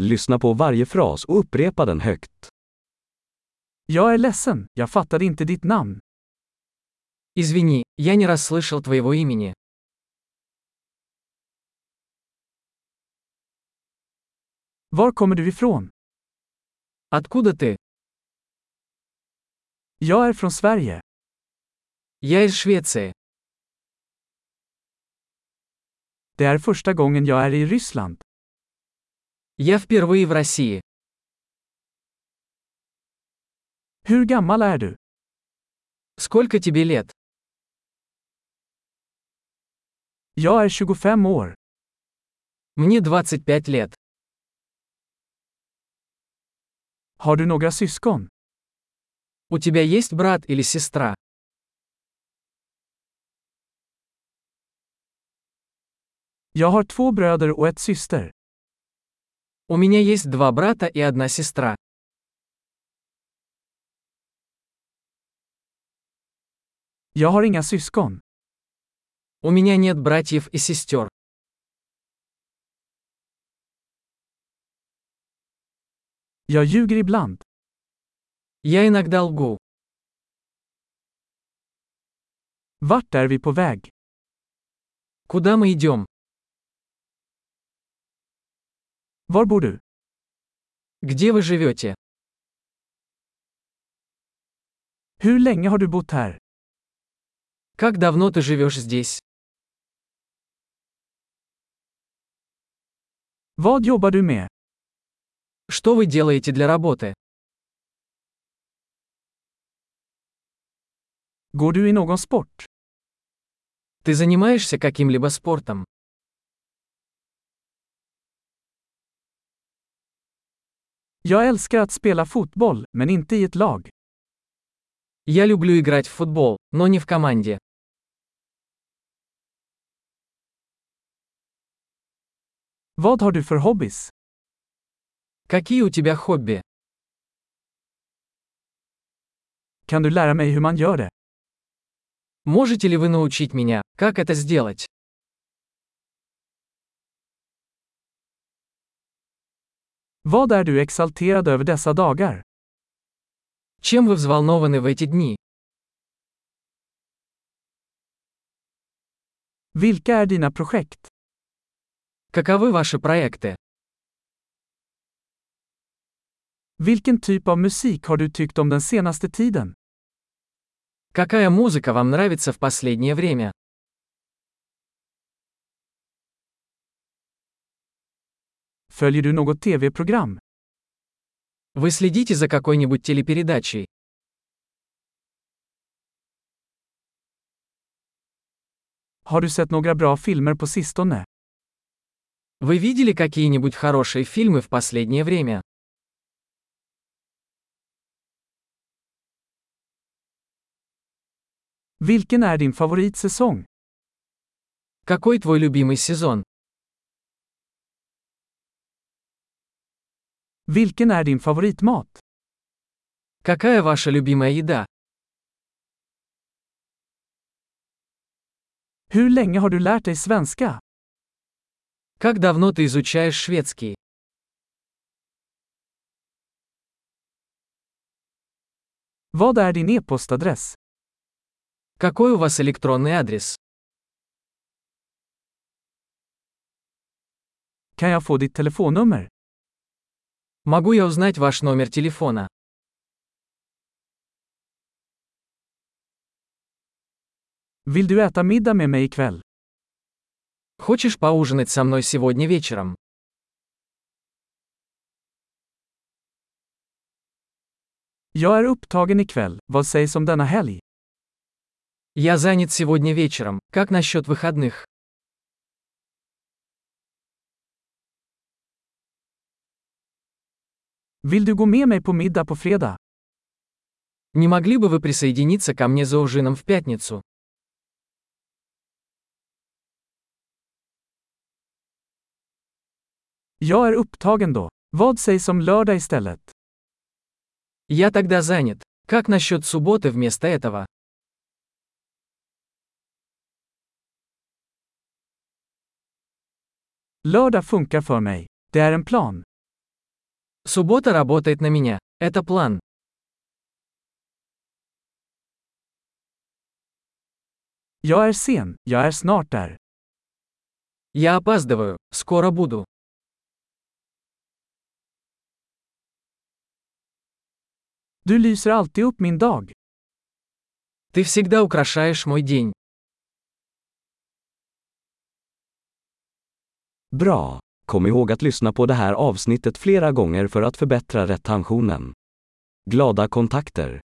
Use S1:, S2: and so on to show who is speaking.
S1: Lyssna på varje fras och upprepa den högt.
S2: Jag är ledsen, jag fattade inte ditt namn.
S3: Извини, я не расслышал твоего имени.
S2: Var kommer du ifrån?
S3: Откуда ты?
S2: Jag är från Sverige.
S3: Я из Швеции.
S2: Det är första gången jag är i Ryssland.
S3: Я впервые в России.
S2: Hur gammal är du?
S3: Сколько тебе лет?
S2: Jag är 25 år.
S3: Мне 25 лет.
S2: Har du några syskon?
S3: У тебя есть брат или сестра?
S2: Jag har två bröder och ett syster.
S3: У меня есть два брата и одна сестра.
S2: Jag har inga syskon.
S3: У меня нет братьев и сестер.
S2: Jag ljuger ibland.
S3: Я иногда лгу.
S2: Vart är vi på väg?
S3: Куда мы идем?
S2: Var bor du?
S3: Где вы живете?
S2: Hur länge har du bott här?
S3: Как давно ты живешь здесь?
S2: Vad jobbar du med?
S3: Что вы делаете для работы?
S2: Går du i någon sport?
S3: Ты занимаешься каким-либо спортом?
S2: Jag älskar att spela fotboll, men inte i ett lag.
S3: Я люблю играть в футбол, но не в команде.
S2: Vad har du för hobbys?
S3: Какие у тебя хобби?
S2: Kan du lära mig hur man gör det?
S3: Можете ли вы научить меня, как это сделать?
S2: Vad är du exalterad över dessa dagar?
S3: Чем вы взволнованы в эти дни?
S2: Vilka är dina projekt?
S3: Каковы ваши проекты?
S2: Vilken typ av musik har du tyckt om den senaste tiden?
S3: Какая музыка вам нравится в последнее время?
S2: Följer du något tv-program?
S3: Вы следите за какой-нибудь телепередачей?
S2: Har du sett några bra filmer på sistone?
S3: Вы видели какие-нибудь хорошие фильмы в последнее время?
S2: Vilken är din favoritsäsong?
S3: Какой твой любимый сезон?
S2: Vilken är din favoritmat?
S3: Какая ваша любимая еда?
S2: Hur länge har du lärt dig svenska?
S3: Как давно ты изучаешь шведский?
S2: Vad är din e-postadress?
S3: Какой у вас электронный адрес?
S2: Kan jag få ditt telefonnummer?
S3: Могу я узнать ваш номер телефона?
S2: Vill du äta middag med mig ikväll?
S3: Хочешь поужинать со мной сегодня вечером?
S2: Jag är upptagen ikväll, vad sägs om denna helg?
S3: Я занят сегодня вечером. Как насчет выходных?
S2: Vill du gå med mig på middag på fredag?
S3: Не могли бы вы присоединиться ко мне за ужином в пятницу?
S2: Jag är upptagen då. Vad sägs om lördag istället?
S3: Я тогда занят. Как насчет субботы вместо этого?
S2: Lördag funkar för mig. Det är en plan.
S3: Суббота работает на меня. Это план.
S2: Jag är sen, jag är snart där.
S3: Я опаздываю. Скоро буду.
S2: Du lyser alltid upp min dag.
S3: Ты всегда украшаешь мой день.
S1: Bra! Kom ihåg att lyssna på det här avsnittet flera gånger för att förbättra retentionen. Glada kontakter!